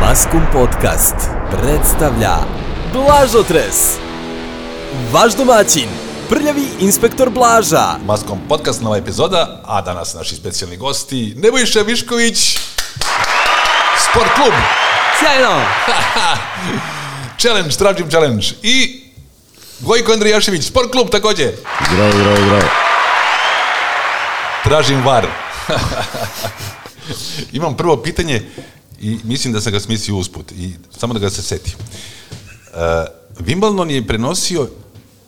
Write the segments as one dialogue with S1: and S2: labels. S1: Maskum Podcast predstavlja Blažotres Vaš domaćin, prljavi inspektor Blaža
S2: Maskom podcast, nova epizoda, a danas naši specijalni gosti, Nebojša Višković, Sport klub,
S1: Sjajno!
S2: challenge, tražim challenge i Gojko Andrijašević, Sport klub takođe,
S3: Zdravo, zdravo, zdravo.
S2: tražim var. Imam prvo pitanje i mislim da sam ga smislio usput, i samo da ga se setim. Uh, Wimbledon je prenosio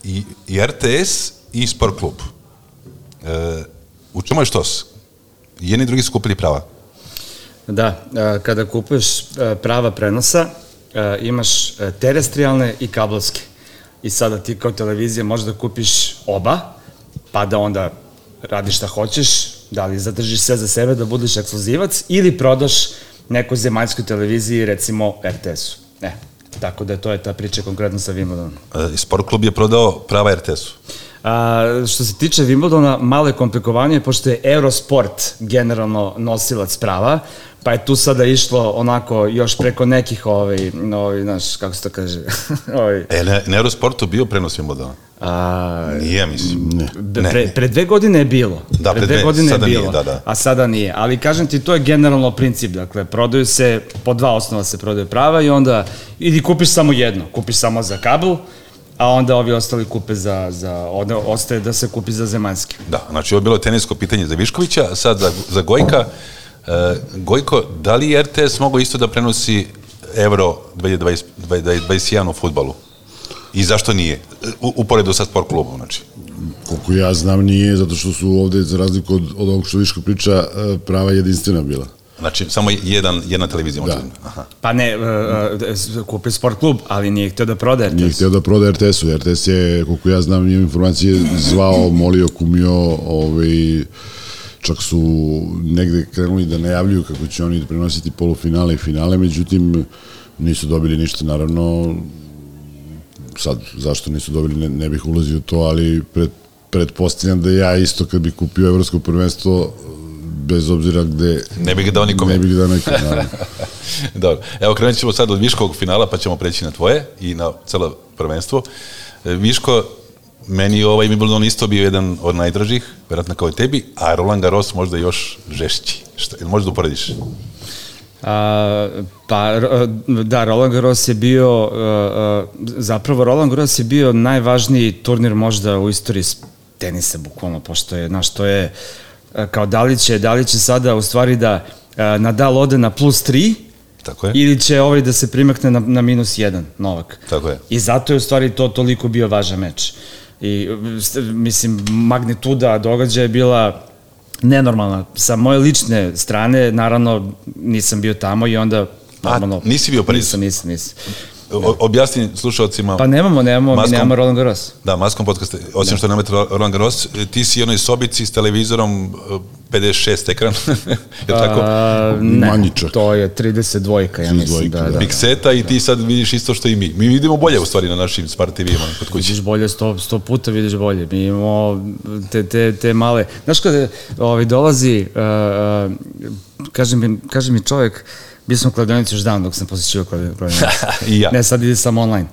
S2: i, i RTS i Sport klub. E, u čemu je štos? Jedni i drugi su kupili prava.
S4: Da, e, kada kupuješ e, prava prenosa, e, imaš e, terestrijalne i kablovske. I sada ti kao televizija možeš da kupiš oba, pa da onda radiš šta hoćeš, da li zadržiš sve za sebe, da budeš ekskluzivac, ili prodaš nekoj zemaljskoj televiziji, recimo RTS-u. E, tako da to je ta priča konkretno sa Wimbledonom.
S2: E, Sport klub je prodao prava RTS-u.
S4: A, što se tiče Wimbledona, malo je komplikovanije, pošto je Eurosport generalno nosilac prava, pa je tu sada išlo onako još preko nekih, ovaj, ovaj, znaš, kako se to kaže, ovaj,
S2: E, na, na Eurosportu bio prenos Wimbledona?
S4: a,
S2: Nije, mislim. Ne.
S4: Pre, pre, pre dve godine je bilo.
S2: Da, pre dve,
S4: godine
S2: sada
S4: je
S2: nije,
S4: bilo,
S2: da, da.
S4: a sada nije. Ali kažem ti, to je generalno princip. Dakle, prodaju se, po dva osnova se prodaju prava i onda ili kupiš samo jedno. Kupiš samo za kabel, a onda ovi ostali kupe za, za onda ostaje da se kupi za zemaljski.
S2: Da, znači ovo je bilo tenisko pitanje za Viškovića, sad za, za Gojka. E, Gojko, da li je RTS mogao isto da prenosi Euro 2020 2021 u futbalu? I zašto nije? U, uporedu sa sport klubom, znači.
S3: Koliko ja znam nije, zato što su ovde, za razliku od, od ovog što Viško priča, e, prava jedinstvena bila.
S2: Znači, samo jedan, jedna televizija može.
S3: Da.
S2: Da. Aha.
S4: Pa ne, e, e, kupi sport klub, ali nije htio da prodaje.
S3: Nije htio da proda RTS-u, RTS je, koliko ja znam, imam informacije, zvao, molio, kumio, ovaj, čak su negde krenuli da najavljuju kako će oni prenositi polufinale i finale, međutim, nisu dobili ništa, naravno, sad zašto nisu dobili ne, ne bih ulazio u to, ali pred, pretpostavljam da ja isto kad bih kupio evropsko prvenstvo bez obzira gde
S2: Ne bih ga dao nikome.
S3: Ne bih ga dao nikome. naravno.
S2: Dobro, evo krenut ćemo sad od Viškovog finala pa ćemo preći na tvoje i na celo prvenstvo. E, Viško, meni je ovaj Wimbledon isto bio jedan od najdražih, verovatno kao i tebi, a Roland Garros možda još žešći. Šta, jel možeš da uporediš?
S4: A, pa, ro- da, Roland Garros je bio, a, a, zapravo Roland Garros je bio najvažniji turnir možda u istoriji s- tenisa, bukvalno, pošto je, znaš, to je, a, kao da li će, da li će sada u stvari da a, Nadal ode na plus 3,
S2: Tako je.
S4: ili će ovaj da se primakne na, na minus 1, Novak.
S2: Tako je.
S4: I zato je u stvari to toliko bio važan meč. I s- mislim, magnituda događaja je bila nenormalna. Sa moje lične strane, naravno, nisam bio tamo i onda... normalno,
S2: Pa, nisi bio u Parizu?
S4: Nisam, nisam, nisam.
S2: O, objasni slušalcima.
S4: Pa nemamo, nemamo,
S2: Maskom.
S4: mi nemamo Roland Garros.
S2: Da, maskom podcast, osim što nemate Ro- Roland Garros, e, ti si u onoj sobici s televizorom e, 56 ekran, je li tako?
S4: A, ne,
S3: Manji čak.
S4: to je 30 dvojka, ja mislim.
S3: 32,
S4: Da, da.
S2: Mikseta i ti sad vidiš isto što i mi. Mi vidimo bolje u stvari na našim smart TV-ima kod kuće.
S4: Vidiš bolje, sto, sto puta vidiš bolje. Mi imamo te, te, te male... Znaš kada ovaj, dolazi, uh, uh, kaže, mi, kaže mi čovjek, bio sam u kladionici još dan dok sam posjećio kladionicu.
S2: I ja.
S4: Ne, sad ide samo online.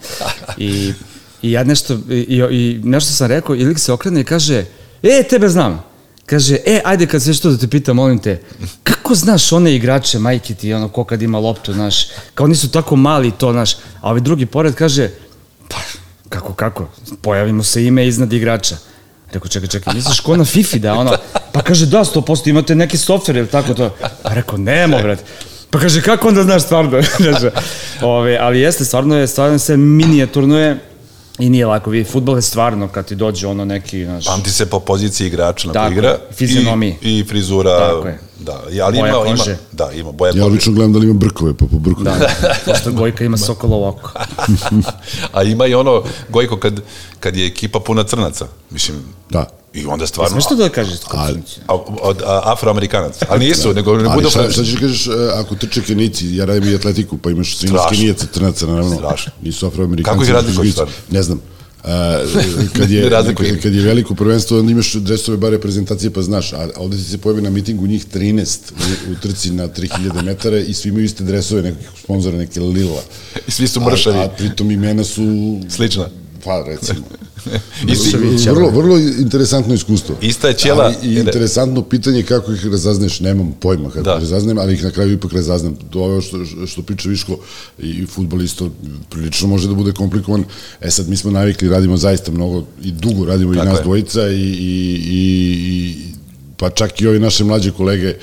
S4: I, i ja nešto, i, i- i nešto sam rekao, i lik se okrene i kaže, e, tebe znam. Kaže, e, ajde kad sve što da te pitam, molim te, kako znaš one igrače, majke ti, ono, ko kad ima loptu, znaš, kao nisu tako mali to, znaš, a ovaj drugi pored kaže, pa, kako, kako, pojavimo se ime iznad igrača. Rekao, čekaj, čekaj, misliš ko na Fifi da ono? Pa kaže, da, 100%, imate neki software ili tako to. Pa rekao, nemo, brat. Pa kaže, kako onda znaš stvarno? Znaš, Ove, ali jeste, stvarno je, stvarno se minijaturno je i nije lako. Vi, futbol je stvarno kad ti dođe ono neki, znaš,
S3: Pa.
S2: Pamti se po poziciji igrača na
S4: Tako
S2: koji igra.
S4: je, fizionomiji.
S2: I, i frizura.
S4: Tako je.
S2: Da, i- ali
S4: Boja
S2: ima, ima,
S4: kože.
S2: da, ima boja
S3: Ja
S2: kože.
S3: obično gledam da li ima brkove, pa po brkovi.
S4: da, pošto Gojka ima sokolovo oko.
S2: A ima i ono, Gojko, kad, kad je ekipa puna crnaca. Mislim,
S3: da.
S2: i onda stvarno...
S4: Znaš što da kažeš?
S3: Ali-
S2: a, od a, afroamerikanaca. Ali nisu, nego ne budu
S3: Ali šta,
S2: francuzi.
S3: šta ćeš kažeš, e, ako trče kenici, ja radim i atletiku, pa imaš sin
S2: Strašno.
S3: kenijaca, trnaca, naravno.
S2: Strašno.
S3: Nisu afroamerikanci.
S2: Kako ih
S3: nisu
S2: razlikuješ
S3: živici.
S2: stvarno?
S3: Ne znam. A, kad, je,
S2: Ne razlikuje
S3: kad,
S2: ih.
S3: kad je veliko prvenstvo, onda imaš dresove bar reprezentacije, pa znaš, a ovde se pojavi na mitingu njih 13 u, u trci na 3000 metara i svi imaju iste dresove nekih sponzora, neke lila.
S2: I svi su mršavi.
S3: A, a pritom imena su...
S2: Slična.
S3: Pa, recimo.
S2: I svi-
S3: vrlo, vrlo interesantno iskustvo.
S2: Ista je ćela-
S3: Ali I interesantno pitanje je kako ih razazneš, nemam pojma kako
S2: Da.
S3: da. razaznam, ali ih na kraju ipak razaznam. To je ovo što, što priča Viško i, i futbol isto prilično može da bude komplikovan. E sad, mi smo navikli, radimo zaista mnogo i dugo radimo
S2: Tako
S3: i nas
S2: je.
S3: dvojica i, i, i, i pa čak i ovi naše mlađe kolege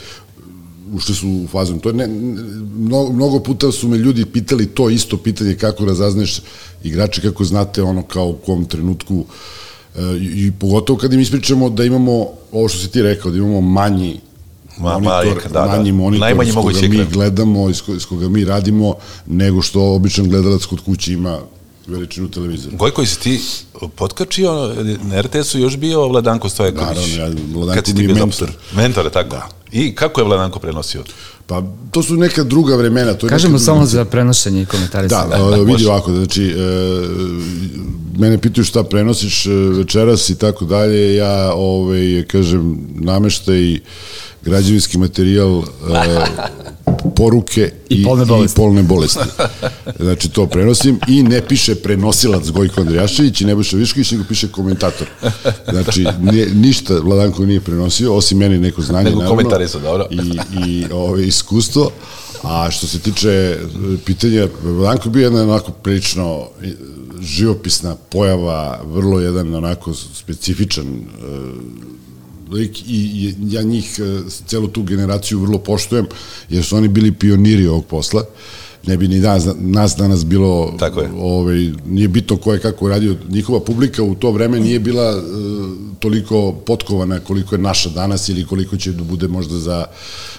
S3: ušli su u fazom. To je ne, ne- mnogo, mnogo puta su me ljudi pitali to isto pitanje kako razazneš igrače, kako znate ono kao u kom trenutku e, i, i pogotovo kad im ispričamo da imamo ovo što si ti rekao, da imamo manji
S2: Ma-
S3: monitor,
S2: mali, da, da.
S3: manji monitor
S2: Najmanji
S3: s koga
S2: mogući
S3: mi
S2: ekran.
S3: gledamo, iz koga, iz koga mi radimo, nego što običan gledalac kod kuće ima veličinu televizora.
S2: Gojko, si ti potkačio, na RTS-u još bio Vladanko Stojaković.
S3: Naravno, ja- Vladanko
S2: Kad si ti
S3: mi je
S2: bio
S3: mentor. Da.
S2: doktor. Mentor, je tako. I kako je Vladanko prenosio?
S3: Pa to su neka druga vremena. To je
S4: Kažemo
S3: neka druga
S4: samo za prenošenje i komentarisanje.
S3: Da, da,
S2: da,
S3: da,
S2: može.
S3: vidi ovako, znači, e, mene pitaju šta prenosiš e, večeras i tako dalje, ja ovaj, kažem nameštaj, građevinski materijal, e, poruke
S4: I polne bolesti.
S3: i polne bolesti. Znači to prenosim i ne piše prenosilac Gojko Andrijašević i Nebojša Višković, nego piše komentator. Znači nije, ništa Vladanko nije prenosio, osim meni neko znanje.
S2: Nego
S3: naravno,
S2: komentari su, dobro.
S3: I i, i ove, iskustvo. A što se tiče e, pitanja, Danko je bio jedna onako prilično e, živopisna pojava, vrlo jedan onako specifičan e, lik i, i ja njih, e, celu tu generaciju vrlo poštujem, jer su oni bili pioniri ovog posla. Ne bi ni nas, nas danas bilo
S2: Tako je.
S3: ovaj, nije bitno ko je kako radio, njihova publika u to vreme nije bila e, toliko potkovana koliko je naša danas ili koliko će da bude možda za,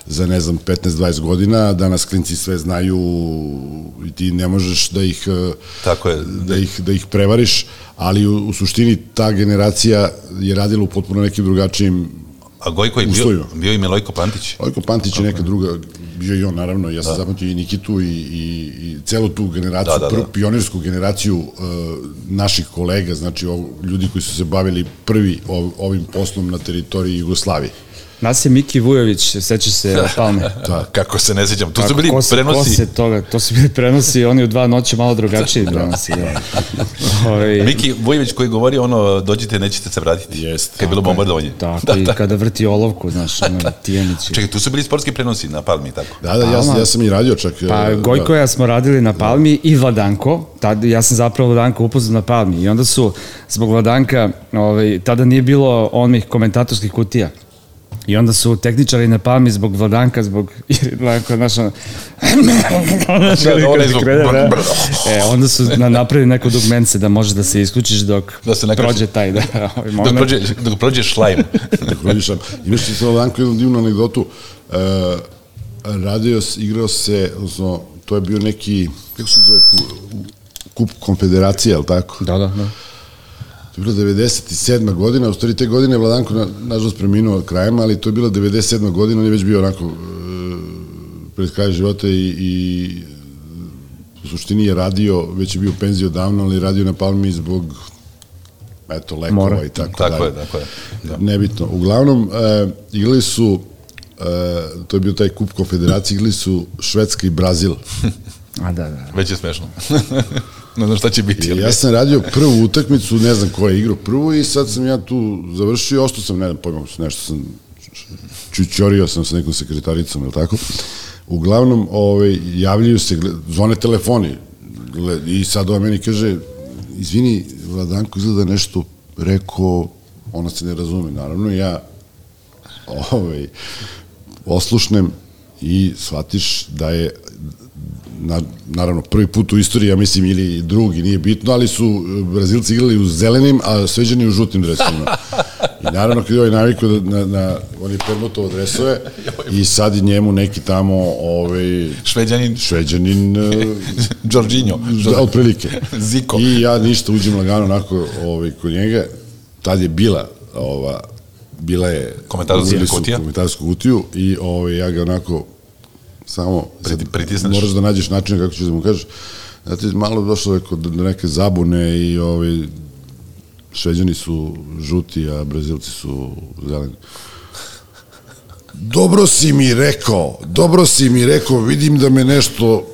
S3: za ne znam, 15-20 godina, danas klinci sve znaju i ti ne možeš da ih e,
S2: Tako je.
S3: da ih, da ih prevariš, ali u, u suštini ta generacija je radila u potpuno nekim drugačijim
S2: A Gojko je bio,
S3: Ustojio.
S2: bio i Milojko Pantić.
S3: Ojko Pantić je neka druga, bio i on naravno, ja sam da. zapamtio i Nikitu i, i, i celu tu generaciju,
S2: Da, da,
S3: da,
S2: da.
S3: da, prvu pionirsku generaciju uh, naših kolega, znači ov, ljudi koji su se bavili prvi ov, ovim poslom na teritoriji Jugoslavije.
S4: Nas je Miki Vujović, sećaš se Palme.
S2: Da. Kako se ne sjećam. Tu su
S4: Kako,
S2: bili
S4: ko se, Ko
S2: prenosi.
S4: se toga, to su bili prenosi, oni u dva noće malo drugačiji prenosi. Ovaj- Da. Ove,
S2: Miki Vujović koji govori ono, dođite, nećete se vratiti.
S3: Jeste.
S2: Kad je bilo bombardovanje.
S4: tako, da, i kada vrti olovku, znaš, ono, Tijanić.
S2: Čekaj, tu su bili sportski prenosi na Palmi i tako.
S3: Da, da, ja, sam- ja sam i radio čak.
S4: Pa
S3: e,
S4: Gojko i
S3: da.
S4: ja smo radili na Palmi i Vladanko, tad, ja sam zapravo Vladanko upoznao na Palmi i onda su zbog Vladanka, ovaj, tada nije bilo onih komentatorskih kutija. I onda su tehničari na Palmi zbog Vladanka, zbog Vladanka, znaš, ono, znaš,
S2: Da,
S4: kad-
S2: da, onaj
S4: kad
S2: zvuk.
S4: krene, da. E, onda su na, napravili neko dogmence da može da se isključiš dok
S2: Da se ne kaže.
S4: prođe taj, da, ovaj
S2: Dok
S4: moment.
S2: prođe, dok prođe šlajm.
S3: Tako vidiš, a imaš ti sa Danko jednu divnu anegdotu. E, radio, s- igrao se, odnosno, to je bio neki, kako se zove, ku- kup konfederacije, ali tako?
S4: Da, da, da.
S3: To je bila 97. godina, u stvari te godine je Vladanko na, nažalost preminuo krajem, ali to je bila 97. godina, on je već bio onako e, pred kraj života i, i u suštini je radio, već je bio u penziji odavno, ali je radio na Palmi zbog eto, lekova
S4: Mora.
S3: i tako,
S2: tako
S3: dalje
S2: je, tako je. Da.
S3: nebitno. Uglavnom, e, igrali su, e, to je bio taj kup konfederacije, igrali su Švedska i Brazil.
S4: A, da, da.
S2: Već je smešno. ne znam šta će biti.
S3: I
S2: ali-
S3: ja sam radio prvu utakmicu, ne znam ko je igrao prvu i sad sam ja tu završio, ostao sam, ne znam, pojma, nešto sam, čućorio sam sa nekom sekretaricom, ili tako. Uglavnom, ovaj, javljaju se, gle- zvone telefoni, gle- i sad ova meni kaže, izvini, Vladanko izgleda da nešto rekao, ona se ne razume, naravno, ja ovaj, oslušnem i shvatiš da je na, naravno prvi put u istoriji, ja mislim, ili drugi, nije bitno, ali su e, Brazilci igrali u zelenim, a sveđani u žutim dresovima. I naravno kad je ovaj navikao da, na, na oni permutovo dresove i sad je njemu neki tamo ovaj,
S2: Šveđanin,
S3: šveđanin e,
S2: Đorđinjo.
S3: Da, otprilike.
S2: Ziko.
S3: I ja ništa uđem lagano onako ovaj, kod njega. Tad je bila ova, bila je
S2: Komentarska
S3: uveli su
S2: kutija.
S3: komentarsku kutiju i ovaj, ja ga onako samo sad
S2: Priti- pritisneš.
S3: moraš da nađeš način kako ćeš da mu kažeš Znate, malo je došlo do- do neke zabune i ovaj, Šveđani su žuti, a Brazilci su zeleni. Dobro si mi rekao, dobro si mi rekao, vidim da me nešto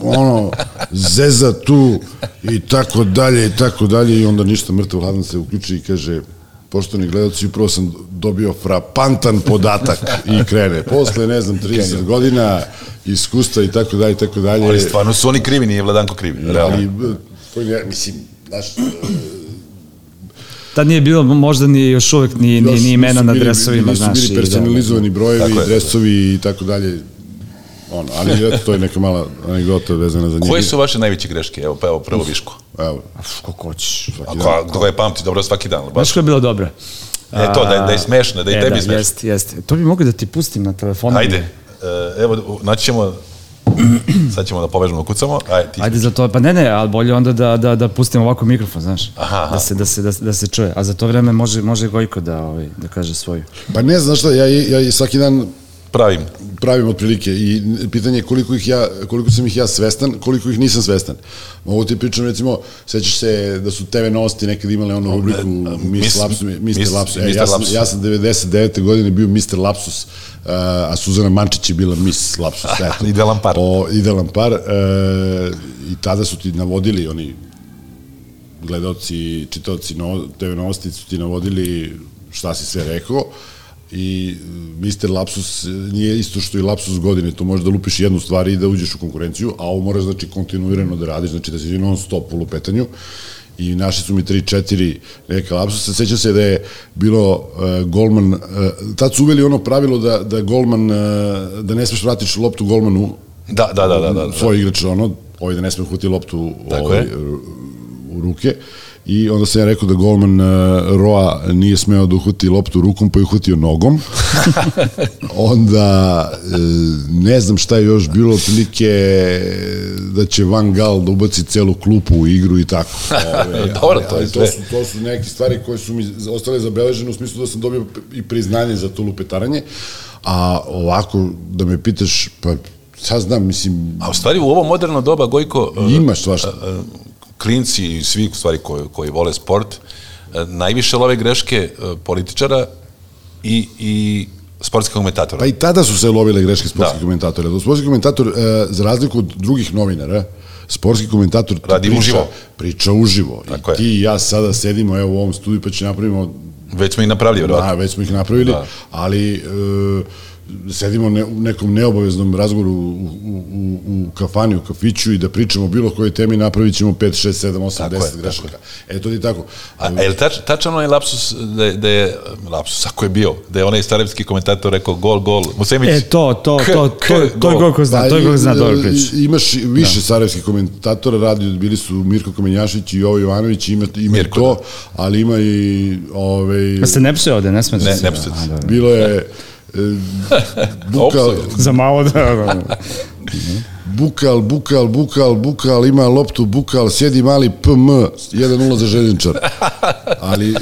S3: ono, zeza tu i tako dalje i tako dalje i onda ništa mrtav hladan se uključi i kaže poštovani gledalci, upravo sam dobio frapantan podatak i krene. Posle, ne znam, 30 godina iskustva i tako dalje i tako dalje.
S2: Ali stvarno su oni krivi, nije Vladanko
S4: Da.
S2: krivi. Realno.
S3: Ali, b- to je, mislim, znaš,
S4: Tad nije bilo možda ni još uvek ni, ni,
S3: još
S4: ni imena
S3: Da nisu
S4: na
S3: bili-
S4: dresovima, znaš.
S3: Nisu
S4: i da,
S3: bili personalizovani brojevi,
S2: Tako je.
S3: dresovi i tako dalje. Ono, ali eto, to je neka mala anegdota vezana za njega.
S2: Koje su vaše najveće greške? Evo, pa evo, prvo Viško.
S3: Evo,
S4: Da. Uf, Kako hoćeš.
S2: Ako ako ga je pamti, dobro, svaki dan. Baš.
S4: Znaš koja je bila dobra?
S2: E, to, da je- da je smešno,
S4: e,
S2: da i tebi smešno.
S4: Jeste, jeste. To bi mogli da ti pustim na telefonu.
S2: Ajde, e, evo, naći ćemo, sad ćemo da povežemo, kucamo. Ajde, ti.
S4: Ajde za to, pa ne ne, ali bolje onda da, da, da pustim ovako mikrofon, znaš,
S2: Aha, aha.
S4: da se, da, se, da, se- da se čuje, a za to vreme može, može Gojko da, ovaj, da kaže svoju.
S3: pa ne znam šta, ja, ja i svaki dan
S2: Pravim.
S3: pravim otprilike i pitanje je koliko ih ja koliko sam ih ja svestan, koliko ih nisam svestan. Mogu ti pričam recimo, sećaš se da su TV novosti nekad imale onu rubriku
S2: mis-
S3: Mr. Lapsus,
S2: mis-
S3: Mr. Lapsus. E,
S2: Mr.
S3: ja sam
S2: Lapsus.
S3: ja sam 99. godine bio Mr. Lapsus, a a Suzana Mančić je bila Miss Lapsus. eto.
S2: Idealan par.
S3: O, idealan par. E, I tada su ti navodili oni gledaoci, čitaoci novo, TV novosti su ti navodili šta si sve rekao i Mr. Lapsus nije isto što i Lapsus godine, to možeš da lupiš jednu stvar i da uđeš u konkurenciju, a ovo moraš znači kontinuirano da radiš, znači da si non stop u lupetanju i naši su mi 3-4 neka lapsusa. Sećam se da je bilo uh, golman, uh, tad su uveli ono pravilo da, da golman, uh, da ne smeš vratiš loptu golmanu,
S2: Da, da, da, da. da, da.
S3: svoj igrač, ono, ovaj da ne sme huti loptu
S2: Tako
S3: ovaj,
S2: je.
S3: u ruke. I onda sam ja rekao da golman uh, Roa nije smeo da uhuti loptu rukom, pa je uhutio nogom. onda e, ne znam šta je još bilo otprilike da će Van Gaal da ubaci celu klupu u igru i tako. Ove,
S2: Dobro, to je sve.
S3: to su, to su neke stvari koje su mi ostale zabeležene u smislu da sam dobio i priznanje za to lupetaranje. A ovako, da me pitaš, pa sad znam, mislim,
S2: A u stvari u ovo moderno doba, Gojko, e,
S3: Ima svašta.
S2: e, e, klinci i svi u stvari koji, koji vole sport, e, najviše love greške e, političara i, i sportskih komentatora.
S3: Pa i tada su se lovile greške sportskih
S2: Da.
S3: da. komentatora. Da sportski komentator, e, za razliku od drugih novinara, sportski komentator ti
S2: Radi
S3: priča,
S2: uživo.
S3: priča uživo.
S2: Tako je.
S3: I ti i ja sada sedimo evo, u ovom studiju pa će napravimo
S2: Već smo i napravili, vjerojatno.
S3: Da, već smo ih napravili, da. ali e, sedimo ne, u nekom neobaveznom razgovoru u, u, u, u kafani, u kafiću i da pričamo o bilo kojoj temi, napravit ćemo 5, 6, 7, 8,
S2: Tako je,
S3: 10
S2: tako
S3: grešaka. E, to ti tako.
S2: A, a je li tač, tačan onaj lapsus da je, da je lapsus, ako je bio, da je onaj starevski komentator rekao gol, gol, Musemić,
S4: E, to, to, to, to, to, to je
S2: gol.
S4: Gojko zna, to je Gojko zna
S3: Pa i-
S4: dobro
S3: i-
S4: priču.
S3: Imaš više da. sarajevskih komentatora, radio bili su Mirko Kamenjašić i Jovo Jovanović, ima,
S2: Mirko,
S3: ima
S2: da.
S3: Mirko, to, ali ima i... Ovaj,
S4: Pa se ne psuje ovde, ne sme da
S2: Ne,
S4: se-
S2: ne psuje.
S4: A, dobro.
S3: bilo je... e,
S2: Opsuj.
S3: Buka,
S4: Za malo da... da.
S3: Bukal, bukal, bukal, bukal, ima loptu, bukal, sjedi mali PM, 1-0 za željezničar. Ali e,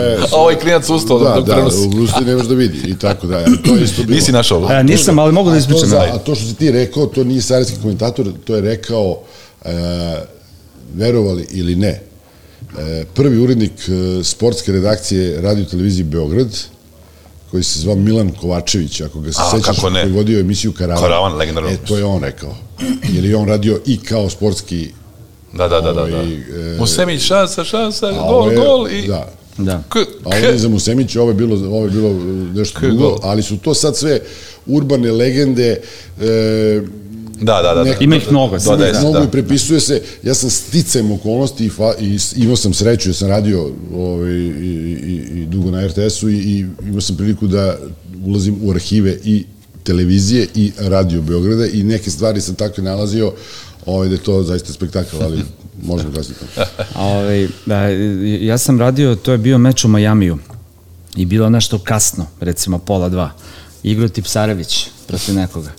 S3: je...
S2: A ovaj klinac ustao
S3: da,
S2: dok
S3: da,
S2: prenosi.
S3: u Brusu ne možeš da vidi i tako da. To je isto bilo.
S2: nisi našao.
S4: E, nisam, ali mogu da ispričam.
S3: To za, a to što si ti rekao, to nije sarajski komentator, to je rekao, e, verovali ili ne, e, prvi urednik e, sportske redakcije radio televizije Beograd, koji se zvao Milan Kovačević, ako ga se
S2: A,
S3: sećaš,
S2: kako ne?
S3: koji je vodio emisiju Karavan.
S2: Karavan, legendarno.
S3: E, to je on rekao. Jer je on radio i kao sportski
S2: Da, da, da, da. da.
S3: Ovaj, e,
S2: Musemić, šansa, šansa,
S3: a
S2: gol,
S3: ovo je-
S2: gol i...
S3: Da.
S4: Da.
S2: K,
S3: A ovo je
S2: k,
S3: za Musemića, ovo je bilo, ovo je bilo e, nešto
S2: Kako?
S3: drugo, ali su to sad sve urbane legende, e,
S2: da, da, da, da.
S3: Nek-
S4: Ima ih mnogo, sad
S2: Dodaje
S3: da,
S2: se,
S3: mnogo
S2: da.
S3: da. i prepisuje se. Ja sam sticajem okolnosti i, fa, i s- imao sam sreću, ja sam radio ovaj, i, i, i dugo na RTS-u i, i imao sam priliku da ulazim u arhive i televizije i radio Beograda i neke stvari sam tako nalazio ovaj, da je to zaista spektakl, ali možemo kasnije.
S4: A, ovaj, da, ja sam radio, to je bio meč u Majamiju i bilo nešto kasno, recimo pola dva. Igro ti Psarević protiv nekoga.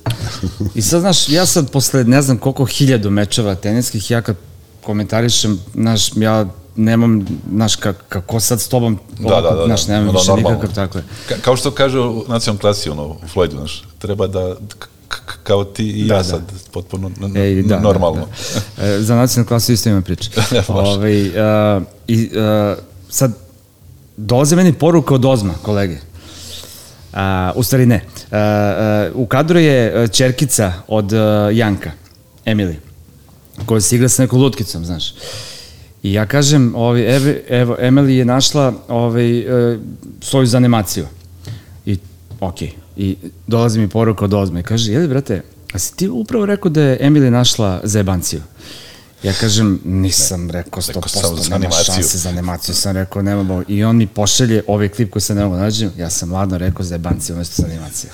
S4: I sad, znaš, ja sad posle ne znam koliko hiljadu mečeva teniskih, ja kad komentarišem, znaš, ja nemam, znaš, ka, kako sad s tobom,
S2: Da, da, da, da.
S4: znaš, nemam
S2: Da,
S4: više
S2: normalno.
S4: nikakav, tako je.
S2: Ka, kao što kaže u nacionalnom klasi, ono, u Floydu, znaš, treba da, k, k, kao ti i
S4: Da,
S2: da, ja
S4: da.
S2: da. sad, potpuno n,
S4: E, i
S2: n,
S4: da,
S2: normalno.
S4: Da, da. E, za nacionalnu klasu isto ima priča.
S2: Baš.
S4: Ove, uh, i, uh, sad, dolaze meni poruka od Ozma, kolege. A, u stvari ne. A, a, u kadru je e, čerkica od a, Janka, Emily, koja se igra sa nekom lutkicom, znaš. I ja kažem, ovaj, evo, evo, Emily je našla ovaj, e, svoju zanimaciju. I, okej. I dolazi mi poruka od Ozma i kaže, jeli, brate, a si ti upravo rekao da je Emily našla zebanciju? Ja kažem, nisam rekao
S2: rekao sam
S4: 100%,
S2: za
S4: nema
S2: animaciju.
S4: šanse za animaciju sam rekao, nema bo. I on mi pošalje ovaj klip koji se ne mogu nađem. Ja sam ladno rekao za jebanci umesto za animacije.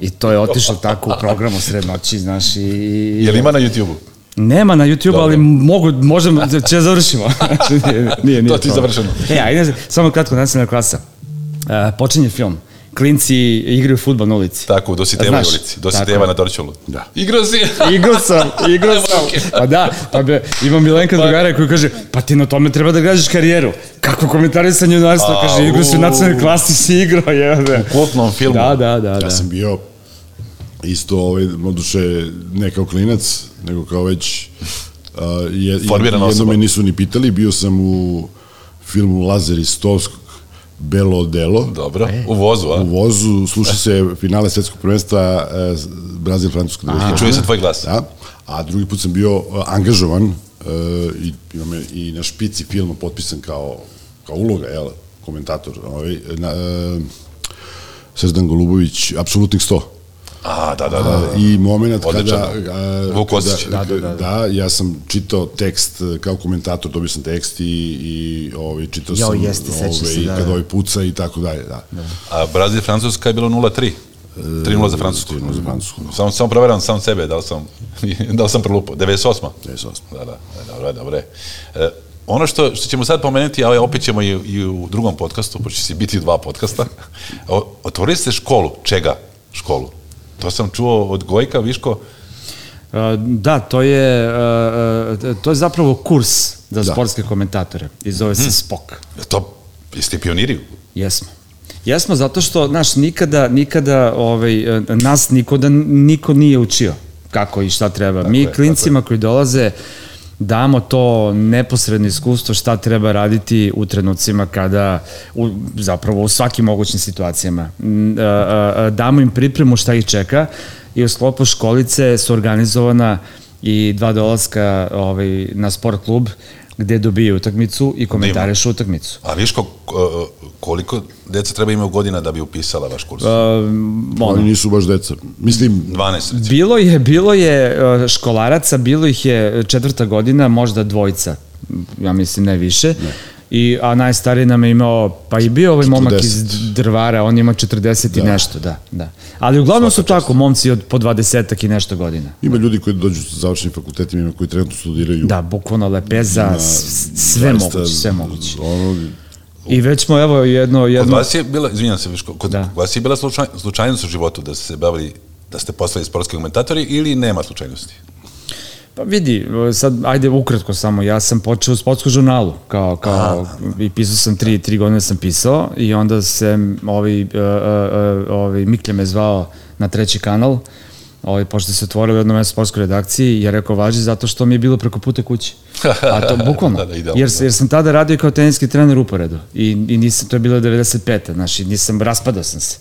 S4: I to je otišlo tako u programu sred noći, znaš, i... i-
S2: Jel ima na YouTube-u?
S4: Nema na YouTube, ali
S2: Dobro.
S4: mogu, možemo, da, će završimo. Znači, nije, nije, nije
S2: To ti je završeno.
S4: E, a inače, samo kratko, nacionalna klasa. Uh, počinje film. Klinci igraju futbol na ulici.
S2: Tako, u Dositevoj
S4: Znaš,
S2: ulici.
S4: tako
S2: Dositeva
S4: je.
S2: na Dorčolu.
S3: Da.
S2: Igrao si!
S4: Igrao sam, igrao sam. Pa da, pa be, imam Milenka drugara koji kaže, pa ti na tome treba da gražiš karijeru. Kako komentarisanje junarstva,
S2: A,
S4: kaže, igrao si u
S2: u.
S4: nacionalnoj klasi, si igrao, jebe.
S2: U kultnom filmu.
S4: Da, da, da.
S2: Pa
S4: da.
S3: Ja sam bio isto, ovaj, moduše, ne kao klinac, nego kao već uh, je,
S2: Formirana
S3: jedno
S2: osoba.
S3: me nisu ni pitali, bio sam u filmu Lazar iz Tovskog, Belo delo,
S2: Dobro,
S4: E.
S2: u vozu, a?
S3: u vozu, sluša se finale svetskog prvenstva uh, Brazil-Francuska.
S2: I čuje se tvoj glas.
S3: Da, a drugi put sam bio uh, angažovan uh, i, imam je i na špici filma potpisan kao, kao uloga, jel, komentator. Ovaj, na, uh, Srdan Golubović, apsolutnih 100.
S2: A, da, da, da. da.
S3: I moment
S2: Odličan.
S3: kada... a,
S2: Vuk
S3: kada-
S2: Osjeć.
S3: Da, da, da, da, ja sam čitao tekst e, kao komentator, dobio sam tekst i, i ovaj, čitao
S4: Jao,
S3: sam
S4: jeste, sećam se, da,
S3: kada
S4: da.
S3: ovaj puca i tako dalje. Da. da.
S2: A Brazil Francuska je bilo 0-3. 3-0 za Francusku.
S3: 3:0 E, za Francusku. da.
S2: Samo, samo proveram sam sebe, da li sam, da li sam prolupao. 98.
S3: 98.
S2: Da, da, da, dobro, je, dobro. je. E, ono što, što ćemo sad pomenuti, a opet ćemo i, i u drugom podcastu, pošto će si biti dva podcasta, o- otvorili ste školu. Čega školu? To sam čuo od Gojka, Viško,
S4: Uh, Da, to je, uh, uh, to je zapravo kurs za
S3: Da.
S4: sportske komentatore i zove se SPOK.
S2: je to jeste pioniri.
S4: Jesmo. Jesmo zato što, znaš, nikada, nikada ovaj, e, nas niko, da, niko nije učio kako i šta treba. Mi
S2: je, tako
S4: klincima koji dolaze damo to neposredno iskustvo šta treba raditi u trenucima kada, u, zapravo u svakim mogućim situacijama. Mm, a, a, a, Damo im pripremu šta ih čeka i u sklopu školice su organizovana i dva dolaska ovaj, na sport klub gde dobijaju utakmicu i komentarišu utakmicu.
S2: A Viško, ko- e, koliko deca treba imaju godina da bi upisala vaš kurs?
S3: Oni nisu baš deca. Mislim,
S2: 12.
S4: Bilo je, bilo je e, školaraca, bilo ih je e, četvrta godina, možda dvojica, ja mislim ne više. I, a najstariji nam je imao, pa i bio ovaj momak
S3: 40.
S4: iz drvara, on ima 40 i nešto, da, da. Ali uglavnom su tako, momci od po 20 i nešto godina.
S3: Ima ljudi koji dođu sa završenim fakultetima, ima koji trenutno studiraju.
S4: Da, bukvalno lepeza, s- s- sve
S3: Zaista,
S4: moguće, sve moguće.
S3: Ono,
S4: I već smo, evo, jedno,
S2: Kod
S4: jedno,
S2: vas je bila, izvinjam se, Viško, kod
S4: Da.
S2: vas je bila slučaj, slučajnost u životu da ste se bavili, da ste postali sportski komentatori ili nema slučajnosti?
S4: Pa vidi, sad, ajde ukratko samo, ja sam počeo u sportskom žurnalu, kao, kao, i pisao sam tri, tri godine sam pisao i onda se ovi, uh, uh, ovi Miklja me zvao na treći kanal, ovaj, pošto se otvorilo jedno mesto u sportskoj redakciji, ja rekao važi zato što mi je bilo preko puta kuće. A to bukvalno,
S2: Da, da, idealno,
S4: jer,
S2: da.
S4: jer sam tada radio kao teniski trener u uporedu i, i nisam, to je bilo 95. Znaš, i nisam, raspadao sam se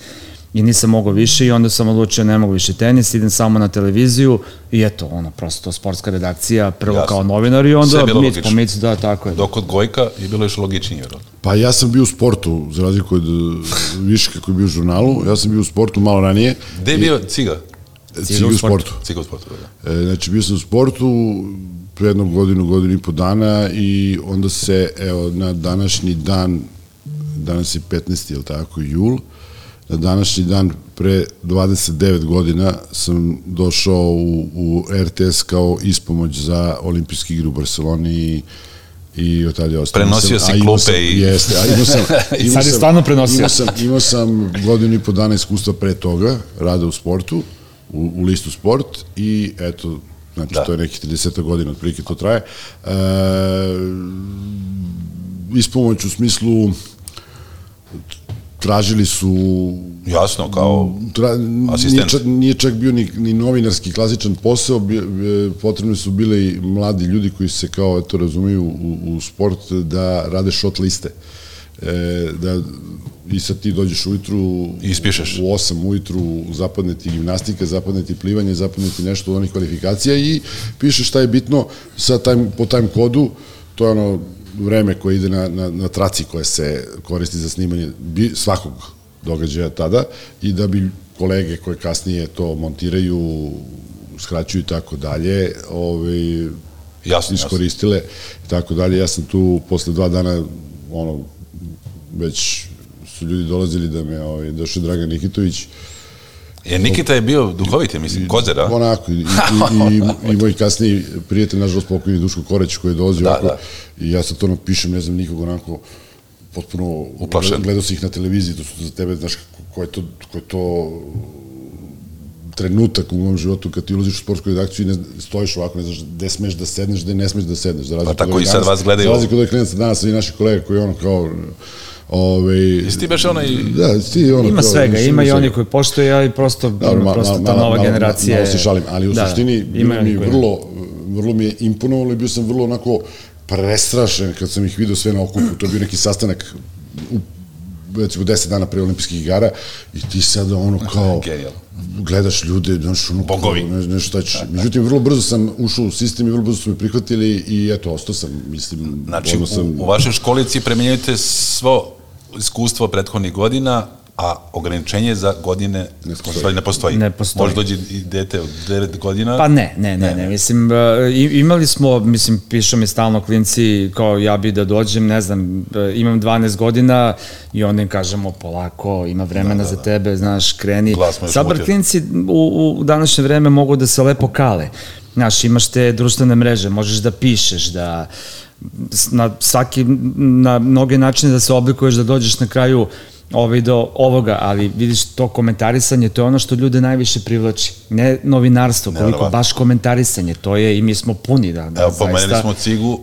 S4: i nisam mogao više i onda sam odlučio ne mogu više tenis, idem samo na televiziju i eto, ono, prosto sportska redakcija, prvo
S2: Jasno.
S4: Jasno. kao novinar i
S2: Sve je
S4: onda
S2: bilo
S4: mic po
S2: logično.
S4: mic, da, tako je.
S2: Dok kod Gojka je bilo još logičnije, vjerojatno.
S3: Pa ja sam bio u sportu, za razliku od e, Viška koji je bio u žurnalu, ja sam bio u sportu malo ranije.
S2: Gde je bio Ciga?
S3: Ciga u sportu.
S2: Ciga u sportu, da.
S3: E, znači bio sam u sportu pre jednog godinu, godinu i po dana i onda se, evo, na današnji dan, danas je 15. je li tako, jul, na današnji dan pre 29 godina sam došao u, u RTS kao ispomoć za olimpijski igre u Barceloni i i od tada je ostao.
S2: Prenosio
S3: Sam-
S2: si
S3: a imao
S2: klupe
S3: sam-
S2: i-
S3: Jeste, a imao sam... imao
S4: sad je
S3: sam-
S4: stvarno prenosio.
S3: Imao sam, imao sam godinu i po dana iskustva pre toga, rada u sportu, u, u listu sport i eto, znači
S2: Da.
S3: da. to je nekih 30 godina, otprilike to traje. E, ispomoć u smislu tražili su
S2: Jasno, kao...
S3: tra, nije,
S2: Asistent.
S3: čak, nije čak bio ni, ni novinarski klasičan posao, bi, bi- potrebni su bile i mladi ljudi koji se kao eto razumeju u, u sport da rade shot liste. E, da i sad ti dođeš ujutru
S2: I ispišeš.
S3: u 8 ujutru zapadne ti gimnastika, zapadne ti plivanje, zapadne ti nešto od onih kvalifikacija i pišeš šta je bitno sa time, po time kodu, to je ono vreme koje ide na, na, na traci koje se koristi za snimanje bi, svakog događaja tada i da bi kolege koje kasnije to montiraju, skraćuju i tako dalje, ovaj,
S2: Jasno, jasno.
S3: iskoristile i tako dalje. Ja sam tu posle dva dana ono već su ljudi dolazili da me ovaj došao Dragan Nikitović
S2: Jer Nikita je bio duhovit, je, mislim, kozera.
S3: onako i, i, i, i, i moj kasniji prijatelj nažalost pokojni Duško Koreć koji je dolazio
S2: Da,
S3: ovako
S2: da.
S3: i ja sad to napišem ne znam nikog onako potpuno
S2: Uplašen.
S3: gledao si ih na televiziji to su za tebe znaš ko je to ko je to trenutak u mom životu kad ti ulaziš u sportsku redakciju i ne, zna- stojiš ovako, ne znaš gde smeš da sedneš, gde ne smeš da sedneš. Za razliku
S2: Pa tako
S3: od ovih
S2: i sad
S3: danas-
S2: vas gledaju.
S3: Za razliku od ovih klinaca danas i naših kolega koji ono kao... Ove,
S2: Jesi ti baš onaj...
S3: Da, ti ono
S4: Ima
S3: kao,
S4: svega,
S3: znaš,
S4: ima i
S3: svega.
S4: oni koji poštuju, ali prosto,
S3: Dobro,
S4: ima
S3: ma-
S4: prosto
S3: ma-
S4: ta
S3: ma-
S4: nova
S3: malo-
S4: generacija...
S3: Malo se šalim, ali u
S4: Da,
S3: suštini
S4: ima
S3: bilo mi
S4: onih
S3: je
S4: koji-
S3: vrlo, vrlo mi je imponovalo i bio sam vrlo onako prestrašen kad sam ih vidio sve na okupu. To je bio neki sastanak u recimo 10 dana pre olimpijskih igara i ti sada ono kao
S2: Genijalno.
S3: gledaš ljude, znaš ono kao,
S2: Bogovi. Da,
S3: ne, ne šta će. Međutim, vrlo brzo sam ušao u sistem i vrlo brzo su me prihvatili i eto, ostao sam, mislim,
S2: Znači,
S3: odmah sam,
S2: u, u vašoj školici premenjujete svo iskustvo prethodnih godina, a ograničenje za godine ne postoji.
S3: postoji.
S2: Ne postoji.
S4: Ne postoji.
S2: Može dođi i dete od 9 godina.
S4: Pa ne, ne, ne, ne, mislim, e, i- imali smo, mislim, pišu mi stalno klinci, kao ja bi da dođem, ne znam, e, imam 12 godina i onda im kažemo polako, ima vremena za tebe, znaš, kreni.
S2: Glas me još
S4: Sabar
S2: mutio.
S4: klinci u, u današnje vreme mogu da se lepo kale. Znaš, imaš te društvene mreže, možeš da pišeš, da s- na svaki, na mnoge načine da se oblikuješ, da dođeš na kraju ovaj do ovoga, ali vidiš to komentarisanje, to je ono što ljude najviše privlači. Ne novinarstvo, koliko
S2: Neverovatno.
S4: baš komentarisanje, to je i mi smo puni da, da
S2: Evo,
S4: zaista.
S2: pomenuli pa smo cigu,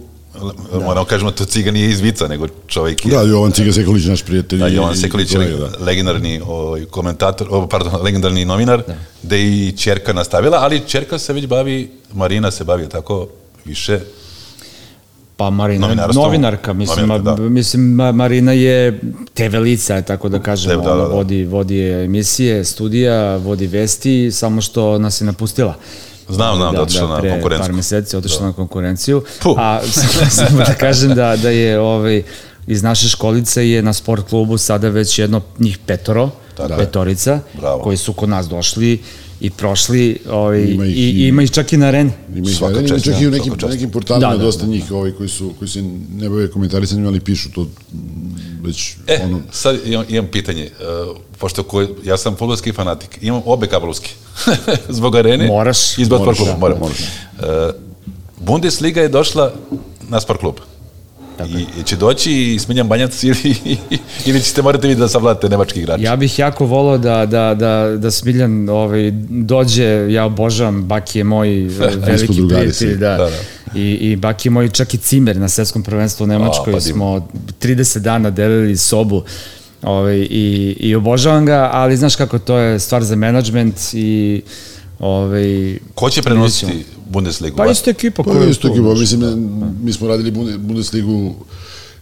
S2: da. moramo kažemo, to ciga nije iz vica, nego čovjek je...
S3: Da, Jovan Ciga Sekulić, naš prijatelj.
S2: Da,
S3: i-
S2: Jovan
S3: i
S2: Sekulić
S3: kolega,
S2: je legendarni ovaj, komentator, o, pardon, legendarni novinar, da. da je i čerka nastavila, ali čerka se već bavi, Marina se bavi tako više,
S4: Pa Marina,
S2: Novinarstvo.
S4: novinarka, mislim,
S2: Novinarka,
S4: novinarka,
S2: da.
S4: da. mislim ma- Marina je TV lica, tako da kažemo,
S2: Da, da, da.
S4: Ona vodi, vodi je emisije, studija, vodi vesti, samo što nas je napustila.
S2: Znam, znam, da je otišla na
S4: pre
S2: konkurencku.
S4: Par meseci otišla da. na konkurenciju,
S2: Puh.
S4: a samo- samo da kažem da, da je ovaj, iz naše školice je na sport klubu sada već jedno njih petoro,
S2: Tako je.
S4: petorica,
S2: Bravo.
S4: koji su kod nas došli i prošli ovaj,
S3: Ima
S4: ima
S3: ih
S4: i,
S3: i-
S4: i, ima ih čak i na areni.
S3: Ima ih
S2: Svaka
S3: svaka
S2: čast,
S3: čak
S2: da,
S3: i u nekim,
S2: svaka čast.
S3: nekim portalima
S4: Da, da,
S3: dosta njih ovaj, koji, su, koji se ne bave komentarisanjem, ali pišu to mm, već
S2: E,
S3: ono...
S2: sad imam, imam pitanje, uh, pošto ko, ja sam futbolski fanatik, imam obe kablovske, zbog arene.
S4: Moraš.
S2: I zbog sport
S3: Moraš,
S2: kluba,
S3: da,
S2: moram.
S3: moraš.
S2: Uh, Bundesliga je došla na sport klub. I, I će doći i smenjam banjac ili, ili ćete morati vidjeti da savladate nemački igrač.
S4: Ja bih jako volao da, da, da, da Smiljan ovaj, dođe, ja obožavam, Baki je moj eh,
S3: smo
S4: veliki
S3: drugari svi.
S4: prijatelj, da,
S2: Da,
S4: da, I, i Baki je moj čak i cimer na svetskom prvenstvu u Nemačkoj,
S2: A, pa divno.
S4: smo 30 dana delili sobu ovaj, i, i obožavam ga, ali znaš kako, to je stvar za menadžment i ovaj,
S2: Ko će prenositi Bundesligu?
S4: pa
S2: Vas-
S4: isto ekipa
S3: Pa
S4: koja je
S3: isto
S4: tu,
S2: znači,
S3: ekipa,
S4: znaš.
S3: mislim,
S2: da.
S3: mi smo radili Bunde- Bundesligu,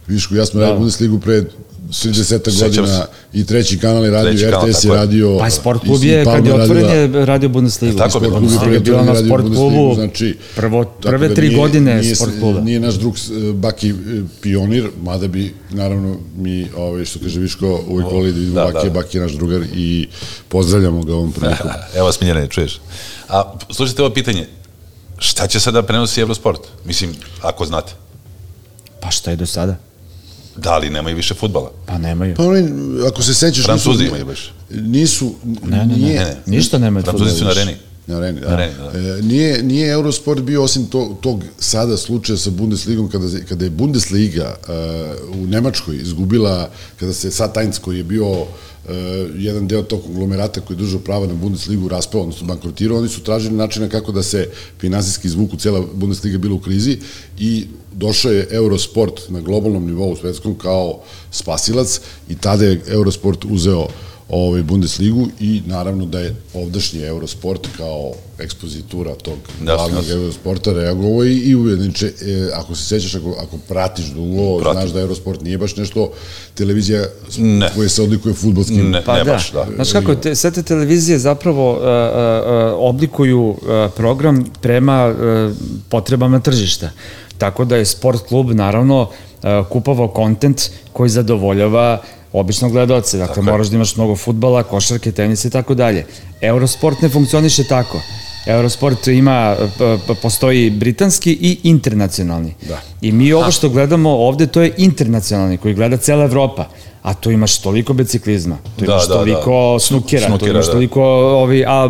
S3: Višku, ja smo
S4: Da.
S3: radili Bundesligu pre 30
S2: Sećam
S3: godina i treći kanal je radio,
S2: Treći kanal,
S3: RTS
S2: tako
S3: je
S2: je.
S3: radio...
S4: Pa i sport klub
S3: i
S4: je, kad je
S3: Palma
S4: otvoren
S3: radila-
S4: je radio Bundesligu.
S2: tako bilo.
S3: Sport klub
S4: Bundesliga
S3: E, je
S4: da je bila na
S3: radio
S4: sport
S3: Bundesligu,
S4: klubu
S3: znači,
S4: prvo,
S3: tako
S4: prve
S3: da
S4: tri
S3: nije-
S4: godine
S3: nije,
S4: sport kluba.
S3: Nije naš drug eh, Baki eh, pionir, mada bi, naravno, mi, ovaj, što kaže Viško, uvek voli da vidimo
S2: da,
S3: da, Baki,
S2: da.
S3: da. Baki je naš drugar i pozdravljamo ga ovom prilikom.
S2: E, Evo, smiljene, čuješ. A, slušajte ovo pitanje. Šta će sada prenosi Eurosport? Mislim, ako znate.
S4: Pa šta je do sada?
S2: Da li nemaju više futbala?
S4: Pa nemaju.
S3: Pa oni, ako se sećaš...
S2: Francuzi
S3: nisu-
S2: imaju baš.
S3: Nisu,
S4: ne,
S3: nije,
S4: ne. Ništa nemaju
S2: E, Francuzi su na
S4: fudbala
S2: areni.
S3: Na areni, da.
S2: areni, da.
S3: E, nije, nije Eurosport bio osim to, tog sada slučaja sa Bundesligom kada, se- kada je Bundesliga e, u Nemačkoj izgubila, kada se Satajnc koji je bio e, jedan deo tog konglomerata koji je držao prava na Bundesligu raspao, odnosno bankrotirao, oni su tražili načina kako da se finansijski izvuku, cela Bundesliga je bila u krizi i došao je Eurosport na globalnom nivou svetskom kao spasilac i tada je Eurosport uzeo ovaj Bundesligu i naravno da je ovdašnji Eurosport kao ekspozitura tog
S2: Da,
S3: da, glavnog
S2: da.
S3: Eurosporta reagovao i, i ujedniče, e, ako se sećaš, ako, ako pratiš dugo,
S2: Pratim.
S3: znaš da Eurosport nije baš nešto televizija s-
S2: Ne.
S3: koja se odlikuje futbolskim
S2: Ne, ne baš, da.
S4: Pa Znaš kako, te, sve te televizije zapravo uh, uh, uh, oblikuju uh, program prema uh, potrebama tržišta. Tako da je sport klub naravno uh, kupovao kontent koji zadovoljava obično gledaoce. Dakle,
S2: je.
S4: moraš da imaš mnogo futbala, košarke, tenisa i tako dalje. Eurosport ne funkcioniše tako. Eurosport ima, uh, p- p- postoji britanski i internacionalni.
S3: Da.
S4: I mi ovo što gledamo ovde, to je internacionalni koji gleda cela Evropa. A tu imaš toliko biciklizma, tu
S2: Da, da,
S4: imaš
S2: da.
S4: toliko snukera, tu
S2: Snukera,
S4: imaš
S2: da.
S4: toliko ovi, a,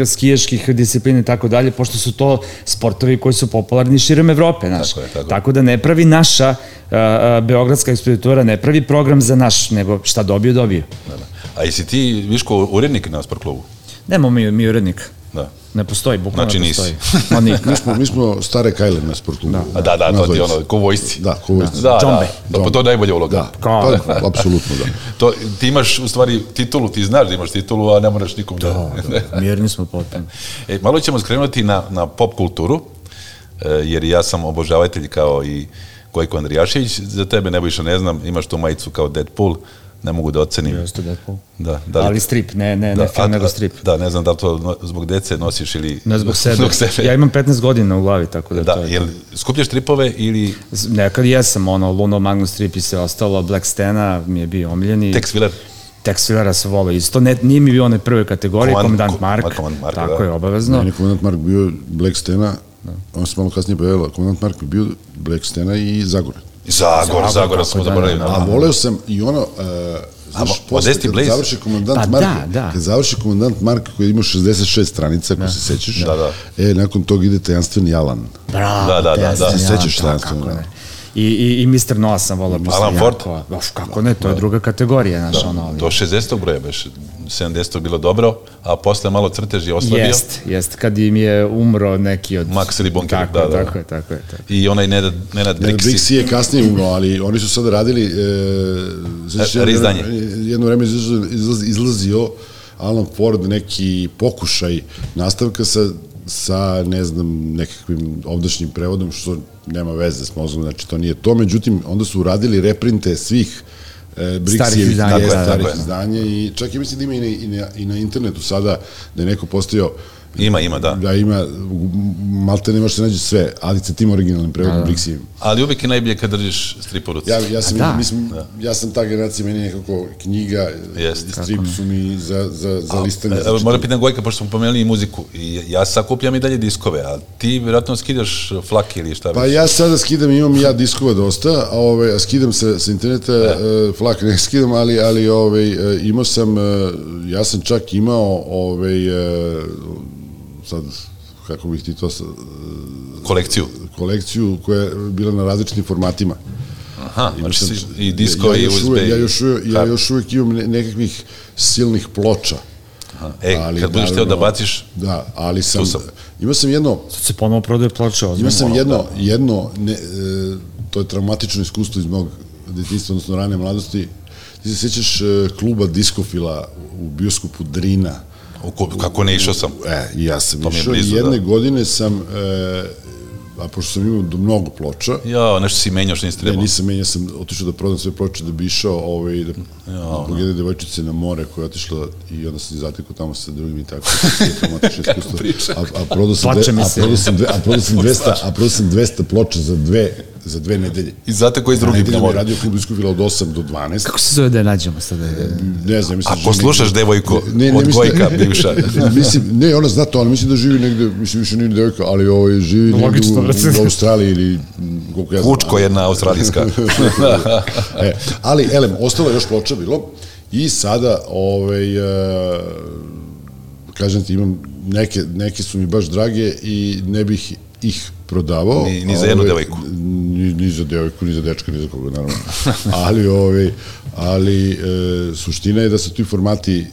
S4: e, skijaških disciplina i tako dalje, pošto su to sportovi koji su popularni širom Evrope. Znaš.
S2: Tako je, tako je.
S4: da ne pravi naša e, e, beogradska ekspeditura, ne pravi program za naš, nego šta dobio, dobio.
S2: Da, da. A jesi ti, Viško, urednik na sport klubu?
S4: Nemamo mi, mi urednika.
S2: Da.
S4: Ne postoji, bukvalno
S2: Znači
S4: ne
S2: nisi.
S4: postoji. Ma nije.
S3: Mi smo, Pa mi smo stare Kajle na sportu.
S2: A da, da, to ti je ono, ko vojsci.
S3: Da, ko vojsci.
S2: Da,
S4: Džombe.
S2: da. da. Pa to je najbolja uloga.
S3: Da,
S4: Kao-
S3: pa, apsolutno da.
S2: To, ti imaš u stvari titulu, ti znaš da imaš titulu, a ne moraš nikom da.
S4: Mirni smo potpuno.
S2: E, malo ćemo skrenuti na, na pop kulturu, e, jer ja sam obožavatelj kao i Gojko Andrijašević, za tebe Nebojša ne znam, imaš tu majicu kao Deadpool, ne mogu da ocenim.
S4: Jeste Deadpool.
S2: Da, da li-
S4: Ali strip, ne, ne, ne
S2: a-
S4: film, nego
S2: a-
S4: strip.
S2: Da, ne znam da li to no- zbog dece nosiš ili...
S4: Ne zbog sebe.
S2: zbog sebe.
S4: Ja imam 15 godina u glavi, tako da,
S2: Da,
S4: to je.
S2: jel skupljaš tripove ili
S4: Z- Nekad jesam, ono, Luno, Magnus Trip i sve ostalo, Black Stena mi je bio omiljeni.
S2: tek
S4: Tex,
S2: sviler?
S4: Tex Filera se volao isto, ne, nije mi bio one prve kategorije,
S2: Komand-
S4: Komandant
S2: ko-
S4: Mark,
S2: ma, Komandant Mark,
S4: tako
S2: da.
S4: je, obavezno.
S3: Meni je komandant Mark bio Black Stena, on se malo kasnije pojavila, komandant Mark mi bio Black Stena i Zagore.
S2: Zagor,
S4: Zagor,
S2: Zagora
S4: tako
S2: smo
S4: da,
S2: zaboravili.
S4: da,
S2: da.
S3: A voleo sam i ono, uh, znaš,
S2: mo-
S3: posle
S2: Modesti
S3: kad
S2: Blaze.
S3: završi komandant
S4: Pa
S3: Mark,
S4: da, da.
S3: kad završi komandant Mark koji ima 66 stranica, ako se sećaš,
S2: Da, da.
S3: e, nakon toga ide tajanstveni Alan.
S4: Bravo,
S2: Da, da, da,
S4: Tex
S2: da.
S4: Filera,
S3: Se sećaš
S4: da,
S3: Tex
S4: kako
S3: Filera?
S4: ne. I, i, i Mr. Noa sam volao. Pa,
S2: Alan Ford? Da.
S4: Baš, kako ne, to je druga kategorija, znaš, ono, ali...
S2: Do 60. broja beš, 70. bilo dobro, a posle malo crtež je oslabio.
S4: Jest, jest, kad im je umro neki od...
S2: Max Ribonker,
S4: tako,
S2: da,
S4: je,
S2: da.
S4: Tako je, tako je, tako je.
S2: I onaj Nenad, Nenad Brixi.
S3: Brixi je kasnije umro, ali oni su sada radili, e, sećaš,
S2: E,
S3: jedno
S2: reizdanje.
S3: vreme- jedno vreme izlazio, izlaz, izlazio Alan Ford neki pokušaj nastavka sa sa, ne znam, nekakvim ovdašnjim prevodom, što nema veze s mozgom, znači to nije to. Međutim, onda su uradili reprinte svih e,
S4: Starih
S3: Brixijevih
S4: izdanja,
S3: izdanja,
S2: da, da.
S3: starih
S2: Tako je.
S3: izdanja i čak i mislim da ima i na, i na, i na internetu sada da je neko postao
S2: Ima, ima, da.
S3: da ima, malte ne može se nađe sve, ali sa tim originalnim prevodom Brixijevim.
S2: Ali uvijek je najbolje kad držiš strip u ruci.
S3: Ja, ja sam,
S4: A da.
S3: da. mislim, ja sam ta generacija, meni je nekako knjiga,
S2: Jest.
S3: Jest, strip su mi za, za, za listanje.
S2: Evo, moram pitan Gojka, pošto smo pomenuli i muziku. I ja sakupljam i dalje diskove, a ti vjerojatno skidaš flak ili šta
S3: Pa
S2: već.
S3: ja sada skidam, imam ja diskova dosta, a ove, a skidam sa, sa interneta, e, flak ne skidam, ali, ali ove, e, imao sam, e, ja sam čak imao, ove, e, sad, kako bih ti to, sa-
S2: Kolekciju.
S3: kolekciju koja je bila na različnim formatima.
S2: Aha,
S3: Imao
S2: znači
S3: sam-
S2: si- i disko i
S3: još
S2: USB.
S3: Uvek, ja, još uvek, ja
S2: Kar-
S3: još uvek imam ne- nekakvih silnih ploča.
S2: E,
S3: ali
S2: kad budeš htio da
S3: naravno-
S2: baciš,
S3: Da, ali sam,
S2: sam.
S3: sam. imao sam jedno,
S4: Sad se ponovo prodaje plače,
S3: imao
S4: ozbiljno.
S3: sam jedno,
S2: da.
S3: jedno ne, e, to je traumatično iskustvo iz mog detinjstva, odnosno rane mladosti. Ti se sjećaš e, kluba diskofila u bioskopu Drina.
S2: u ko- kako ne išao sam.
S3: E, i ja sam
S2: mi je
S3: išao
S2: blizu,
S3: i jedne
S2: da.
S3: godine sam, e, a pošto sam imao do- mnogo ploča,
S2: Ja, nešto si menjao što nisi
S3: Ne,
S2: trebao.
S3: nisam menja, sam otišao da prodam sve ploče da bi išao ovaj, da, ja, zbog jedne devojčice na more koja je otišla i onda sam zatekao tamo sa drugim i tako. Traumatično iskustvo.
S2: priča.
S3: A, a prodao sam,
S4: Plače mi
S3: dve, a
S4: se.
S3: prodao sam, dve, a prodao sam 200, a prodao sam 200 ploča za dve, za dve nedelje.
S2: I zato koji s drugim
S3: Nedelje
S2: na
S3: mi je
S2: moru.
S3: radio klub iskupila od 8 do 12.
S4: Kako se zove da je nađemo sada?
S3: Ne znam, mislim...
S2: Ako
S3: da živi
S2: slušaš devojku od
S3: mislim da-
S2: Gojka, bivša.
S3: mislim, ne, ona zna to, ali mislim da živi negde, mislim više nije devojka, ali ovaj, živi
S4: Logično,
S3: negde u,
S4: brate.
S3: u Australiji ili m, koliko ja znam.
S2: Kučko jedna australijska.
S3: e, ali, elem, ostalo je još ploča bilo i sada, ovaj, e, kažem ti, imam neke, neke su mi baš drage i ne bih ih prodavao.
S2: Ni- ni za jednu
S3: Ovaj,
S2: devojku.
S3: Ni, ni za devojku, ni za dečka, ni za koga, naravno. ali ovaj, ali e, suština je da su ti formati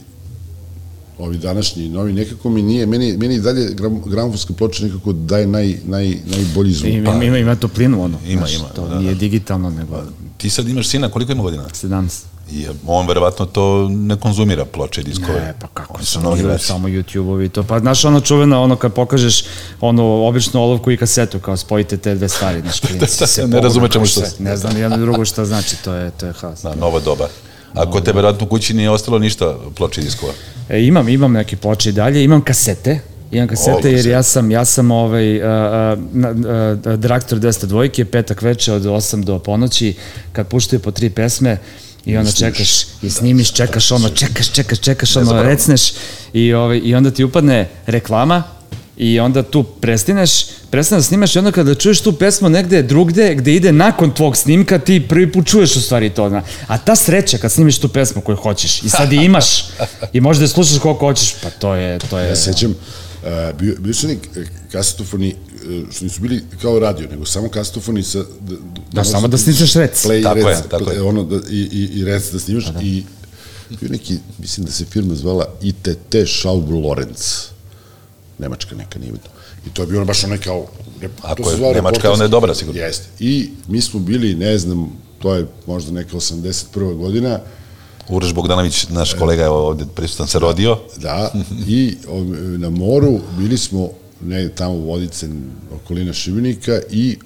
S3: ovi današnji novi, nekako mi nije, meni, meni i dalje gram, gramofonska ploča nekako daje naj, naj, najbolji zvuk.
S4: Ima, ima, ima toplinu ono.
S2: Pa- Ima,
S4: znaš,
S2: ima,
S4: To
S2: da, Pa-
S4: nije digitalno, nego
S2: Ti sad imaš sina, koliko ima godina?
S4: 17.
S2: I on verovatno to ne konzumira ploče i diskove.
S4: E, pa kako
S2: Oni
S4: su
S2: su novi
S4: igraju
S2: generacija.
S4: samo YouTube-ovi i to. Pa znaš ono čuveno, ono kad pokažeš ono običnu olovku i kasetu, kao spojite te dve stvari, znaš, klinci se
S2: Da, ne
S4: pogode,
S2: razume čemu
S4: kao
S2: što-
S4: sve. Ne znam ni jedno ni drugo šta znači, to je, to je haos.
S2: Da, nova doba. A kod tebe radno u kući nije ostalo ništa ploče i diskova.
S4: E, imam, imam neke ploče i dalje, imam kasete, imam kasete jer
S2: kasete.
S4: ja sam, ja sam ovaj, a, a, a, Draktor 202 petak veče od 8 do ponoći, kad puštaju po tri pesme, I onda čekaš, i snimiš, čekaš ono, čekaš, čekaš, čekaš ono,
S2: zaboravim.
S4: recneš i, ovaj, i onda ti upadne reklama i onda tu prestineš, prestaneš da snimaš i onda kada čuješ tu pesmu negde drugde gde ide nakon tvog snimka ti prvi put čuješ u stvari to. Na. A ta sreća kad snimiš tu pesmu koju hoćeš i sad je imaš i možeš da je slušaš koliko hoćeš, pa to je... To je
S3: Ja sećam, uh, bio, bio su neki e, kasetofoni, e, što nisu bili kao radio, nego samo kasetofoni sa... Da,
S4: Da, samo da sničeš rec.
S3: Play
S2: Tako
S3: tako rec,
S2: je, tako je.
S3: Ono, da, i, i, i rec da snimaš i bio neki, mislim da se firma zvala ITT Schaub Lorenz. Nemačka neka, nije bitno. I to je bio ono baš onaj kao... ne-
S2: Ako
S3: to se
S2: je
S3: zvao
S2: Nemačka,
S3: reporterski-
S2: onda je dobra sigurno.
S3: Jeste. I mi smo bili, ne znam, to je možda neka 81. godina,
S2: Uroš Bogdanović, naš kolega, je ovde prisutan, se rodio.
S3: Da, i o, na moru bili smo ne, tamo u Vodice, okolina Šibenika i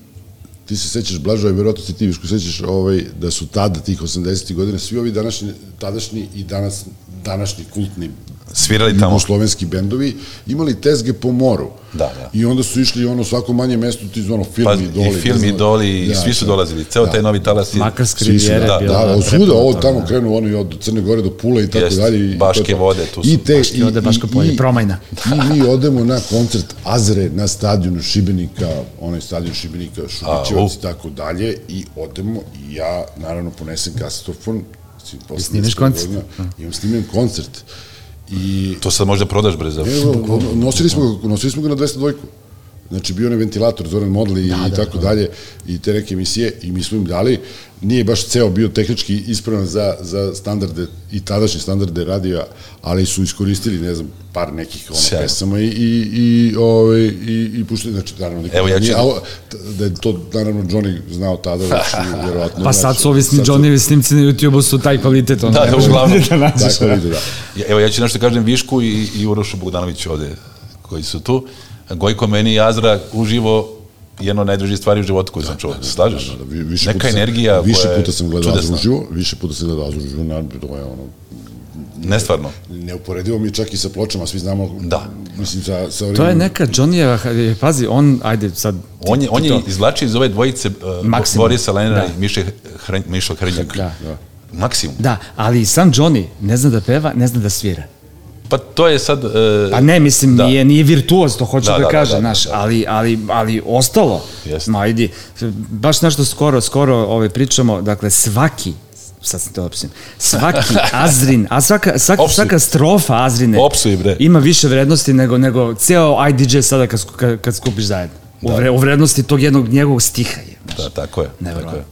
S3: ti se sećaš Blažo, je verovatno se ti Viško sećaš ovaj, da su tada tih 80. godina svi ovi današnji, tadašnji i danas, današnji kultni
S2: Svirali tamo.
S3: jugoslovenski bendovi imali tezge po moru.
S2: Da, da.
S3: I onda su išli ono svako manje mesto ti ono film
S2: Pa,
S3: i doli. Da,
S2: I film i doli, i svi su dolazili. Ceo taj novi talas. je-
S4: Makarska
S3: Svi su,
S4: rivijera
S3: da,
S4: je bila,
S3: da, od svuda,
S4: prepuno
S3: ovo
S4: toga,
S3: tamo
S4: da.
S3: krenu oni od Crne Gore do Pule i tako
S2: Jeste,
S3: dalje. i to je
S2: Baške
S3: to.
S2: vode, tu su.
S3: I te,
S4: Baške vode, Baško polje, Promajna.
S3: I mi odemo na koncert Azre na stadionu Šibenika, onaj stadion Šibenika, Šubićevac
S2: u.
S3: i tako dalje, i odemo i ja, naravno, ponesem kasetofon, mislim, posle
S4: snimiš
S3: 10
S4: koncert?
S3: godina, Imam snimljen koncert. I
S2: To sad možda prodaš brzo.
S3: Ne, no, no, nosili smo ga, nosili smo ga na 202 Znači bio je onaj ventilator, Zoran Modli da, i da, tako da. dalje i te neke emisije i mi smo im dali. Nije baš ceo bio tehnički ispravan za, za standarde i tadašnje standarde radija, ali su iskoristili, ne znam, par nekih ono,
S2: Sjajno.
S3: pesama i, i, i, ove, i, i puštili, znači, naravno, niko
S2: Evo, ja ću-
S3: nije, a ovo- t- da je to, naravno, Johnny znao tada, znači, vjerovatno.
S4: Pa sad
S3: znači,
S4: su ovi sni,
S3: sad su-
S4: Johnnyvi snimci na YouTube-u su taj kvalitet, ono,
S2: Da, da,
S4: ne možeš
S2: uglavnom.
S4: da nađeš.
S3: Tako
S4: da.
S3: vidu, da.
S2: Ja- Evo, ja ću nešto kažem Višku i, i Urošu Bogdanoviću ovde, koji su tu. Gojko meni i Azra uživo jedno od najdražih stvari u životu koju sam čuo. Slažeš?
S3: Da, vi- više
S2: Neka
S3: puta sam-
S2: energija
S3: više
S2: koja je
S3: puta sam gledao
S2: čudesna.
S3: Azru uživo, više puta sam gledao Azru uživo, naravno, to je ono,
S2: Nestvarno.
S3: neuporedivo mi je čak i sa pločama, svi znamo,
S2: Da.
S3: mislim, sa, sa ovim...
S4: To je neka Johnnyjeva, pazi, on, ajde sad... ti-
S2: On je, on
S4: ti
S2: je
S4: to-
S2: izvlačio iz ove dvojice uh,
S4: Maksimum.
S2: Borisa Lenera
S4: Da.
S2: i Miše Hrn, Mišo Hrnjak.
S4: Da.
S2: Maksimum.
S4: Da, ali i sam Johnny ne zna da peva, ne zna da svira.
S2: Pa to je sad... Uh,
S4: Pa ne, mislim,
S2: Da.
S4: da. nije, nije virtuoz, to hoću
S2: Da, da,
S4: da, da
S2: da,
S4: kažem,
S2: da, da,
S4: znaš,
S2: da.
S4: ali, ali, ali ostalo,
S2: Jeste.
S4: ma idi, baš nešto skoro, skoro ovaj, pričamo, dakle, svaki sad sam to opsim, svaki Azrin, a svaka, svaka,
S2: Opsuj.
S4: svaka strofa Azrine
S2: Opsuj, bre.
S4: ima više vrednosti nego, nego ceo IDJ sada kad, sku- kad, kad skupiš zajedno. U, vre, u vrednosti tog jednog njegovog stiha je. znaš.
S2: Da, tako je. Tako
S4: Neverovatno.
S2: je.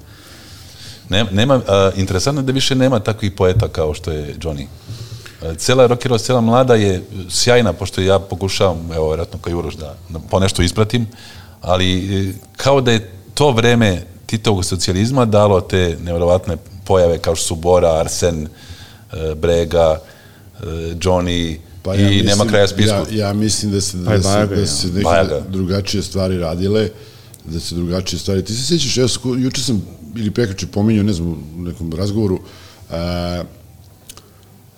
S2: Ne, nema, uh, interesantno je da više nema takvih poeta kao što je Johnny. Uh, cela rockero, cela mlada je sjajna, pošto ja pokušavam, evo, vjerojatno kao Juroš, da, da ponešto ispratim, ali e, kao da je to vreme Titovog socijalizma dalo te nevjerovatne pojave kao što su Bora, Arsen, e, Brega, e, Johnny pa ja i mislim, nema kraja spisku.
S3: Ja, ja mislim da se,
S4: Pa i
S3: da, se,
S4: Bajaga,
S3: da
S4: ja.
S3: se neke
S2: Bajaga.
S3: drugačije stvari radile, da se drugačije stvari... Ti se sjećaš, ja sku, juče sam, ili prekače pominjao, ne znam, u nekom razgovoru, a,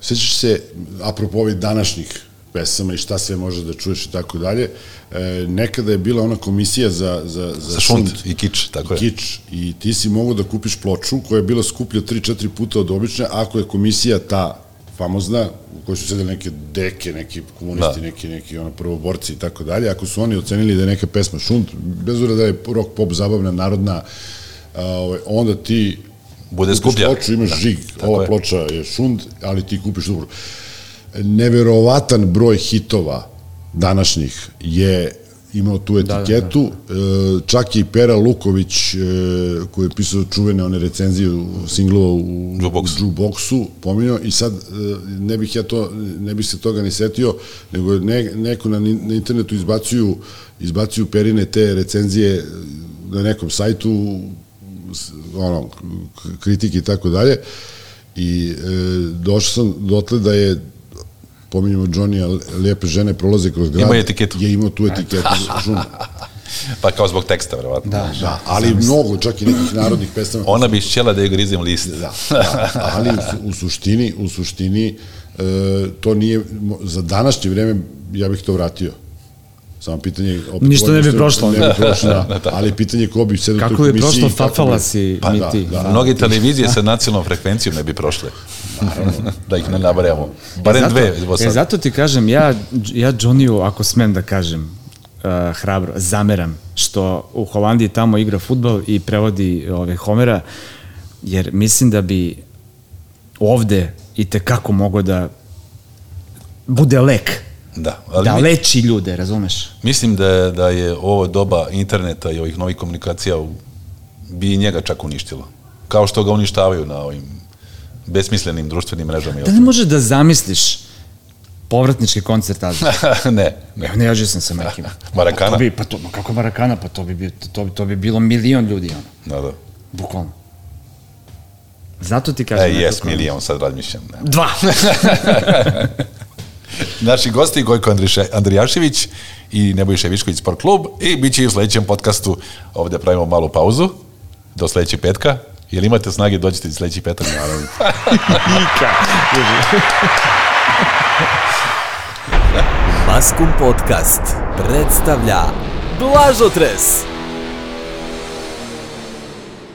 S3: Sećaš se, apropo ovih današnjih pesama i šta sve možeš da čuješ i tako dalje, e, nekada je bila ona komisija za, za, za,
S2: Za šunt i kič, tako je.
S3: Kič i ti si mogao da kupiš ploču koja je bila skuplja 3-4 puta od obične, ako je komisija ta famozna, u kojoj su sedeli neke deke, neki komunisti,
S2: Da.
S3: da. neki, neki ono, prvoborci i tako dalje, ako su oni ocenili da je neka pesma šunt, bez ura da je rock pop zabavna, narodna, a, ovaj, onda ti
S2: Bude
S3: kupiš
S2: skuplja.
S3: ploču, imaš da. žig,
S2: tako
S3: ova
S2: je.
S3: ploča je šund, ali ti kupiš dubru. Neverovatan broj hitova današnjih je imao tu etiketu, da, da, da. čak i Pera Luković e, koji je pisao čuvene one recenzije u singlova u
S2: Jukeboxu.
S3: Jukeboxu pominjao i sad e, ne bih ja to ne bih se toga ni setio nego ne, neko na, ni- na internetu izbacuju izbacuju Perine te recenzije e, na nekom sajtu s- ono k- kritike i tako dalje i e, došao sam dotle da je pominjamo Johnny, lijepe žene prolaze kroz grad.
S2: Imao je etiketu.
S3: Je imao tu etiketu. žunu.
S2: Pa kao zbog teksta, verovatno.
S4: Da,
S3: da, ali mnogo, čak i nekih narodnih pesama.
S2: Ona bi išćela da je grizem list.
S3: Da, da, ali u, su- u suštini, u suštini e, to nije, mo- za današnje vreme ja bih to vratio. Samo pitanje... je Opet,
S4: Ništa
S3: ko bi
S4: ne bi
S3: ustao-
S4: prošlo.
S3: Ne bi prošlo, da. Ali pitanje je ko bi sedao u
S4: Kako
S3: toj
S4: bi
S3: komisiji i
S4: prošlo
S3: kako bi-
S4: Fafalasi
S3: Pa
S4: mi
S3: da,
S4: ti?
S3: da.
S2: Mnogi televizije sa nacionalnom frekvencijom ne bi prošle. da ih ne nabrajamo. Barem
S4: zato,
S2: dve. evo
S4: E,
S2: sad.
S4: zato ti kažem, ja, ja Johnny-u, ako smem da kažem, uh, hrabro, zameram što u Holandiji tamo igra futbal i prevodi ove, Homera, jer mislim da bi ovde i tekako mogo da bude lek,
S2: Da,
S4: ali
S2: ali
S4: da
S2: mi-
S4: leči ljude, razumeš?
S2: Mislim da je, da je ovo doba interneta i ovih novih komunikacija u- bi i njega čak uništilo. Kao što ga uništavaju na ovim besmislenim društvenim mrežama. i
S4: Da li možeš da zamisliš povratnički koncert Azija?
S2: ostalo. ne, ne.
S4: Evo, ne jađe sam sa Mekima.
S2: Marakana.
S4: Pa to bi, pa to, ma kako Marakana, pa to bi, bio- to, bi, to bi bilo milion ljudi, ono,
S2: Da, da.
S4: bukvalno. Zato ti kažem...
S2: E,
S4: eto,
S2: jes,
S4: ko-
S2: milijon, sad razmišljam. Ne.
S4: Dva!
S2: Naši gosti, Gojko Andriše, Andrijašević i Nebojša Višković Sport klub i bit će i u sledećem podcastu. Ovde pravimo malu pauzu do sledećeg petka. Jel imate snage, dođete i sledeći petak, naravno.
S1: Maskum Podcast predstavlja Blažotres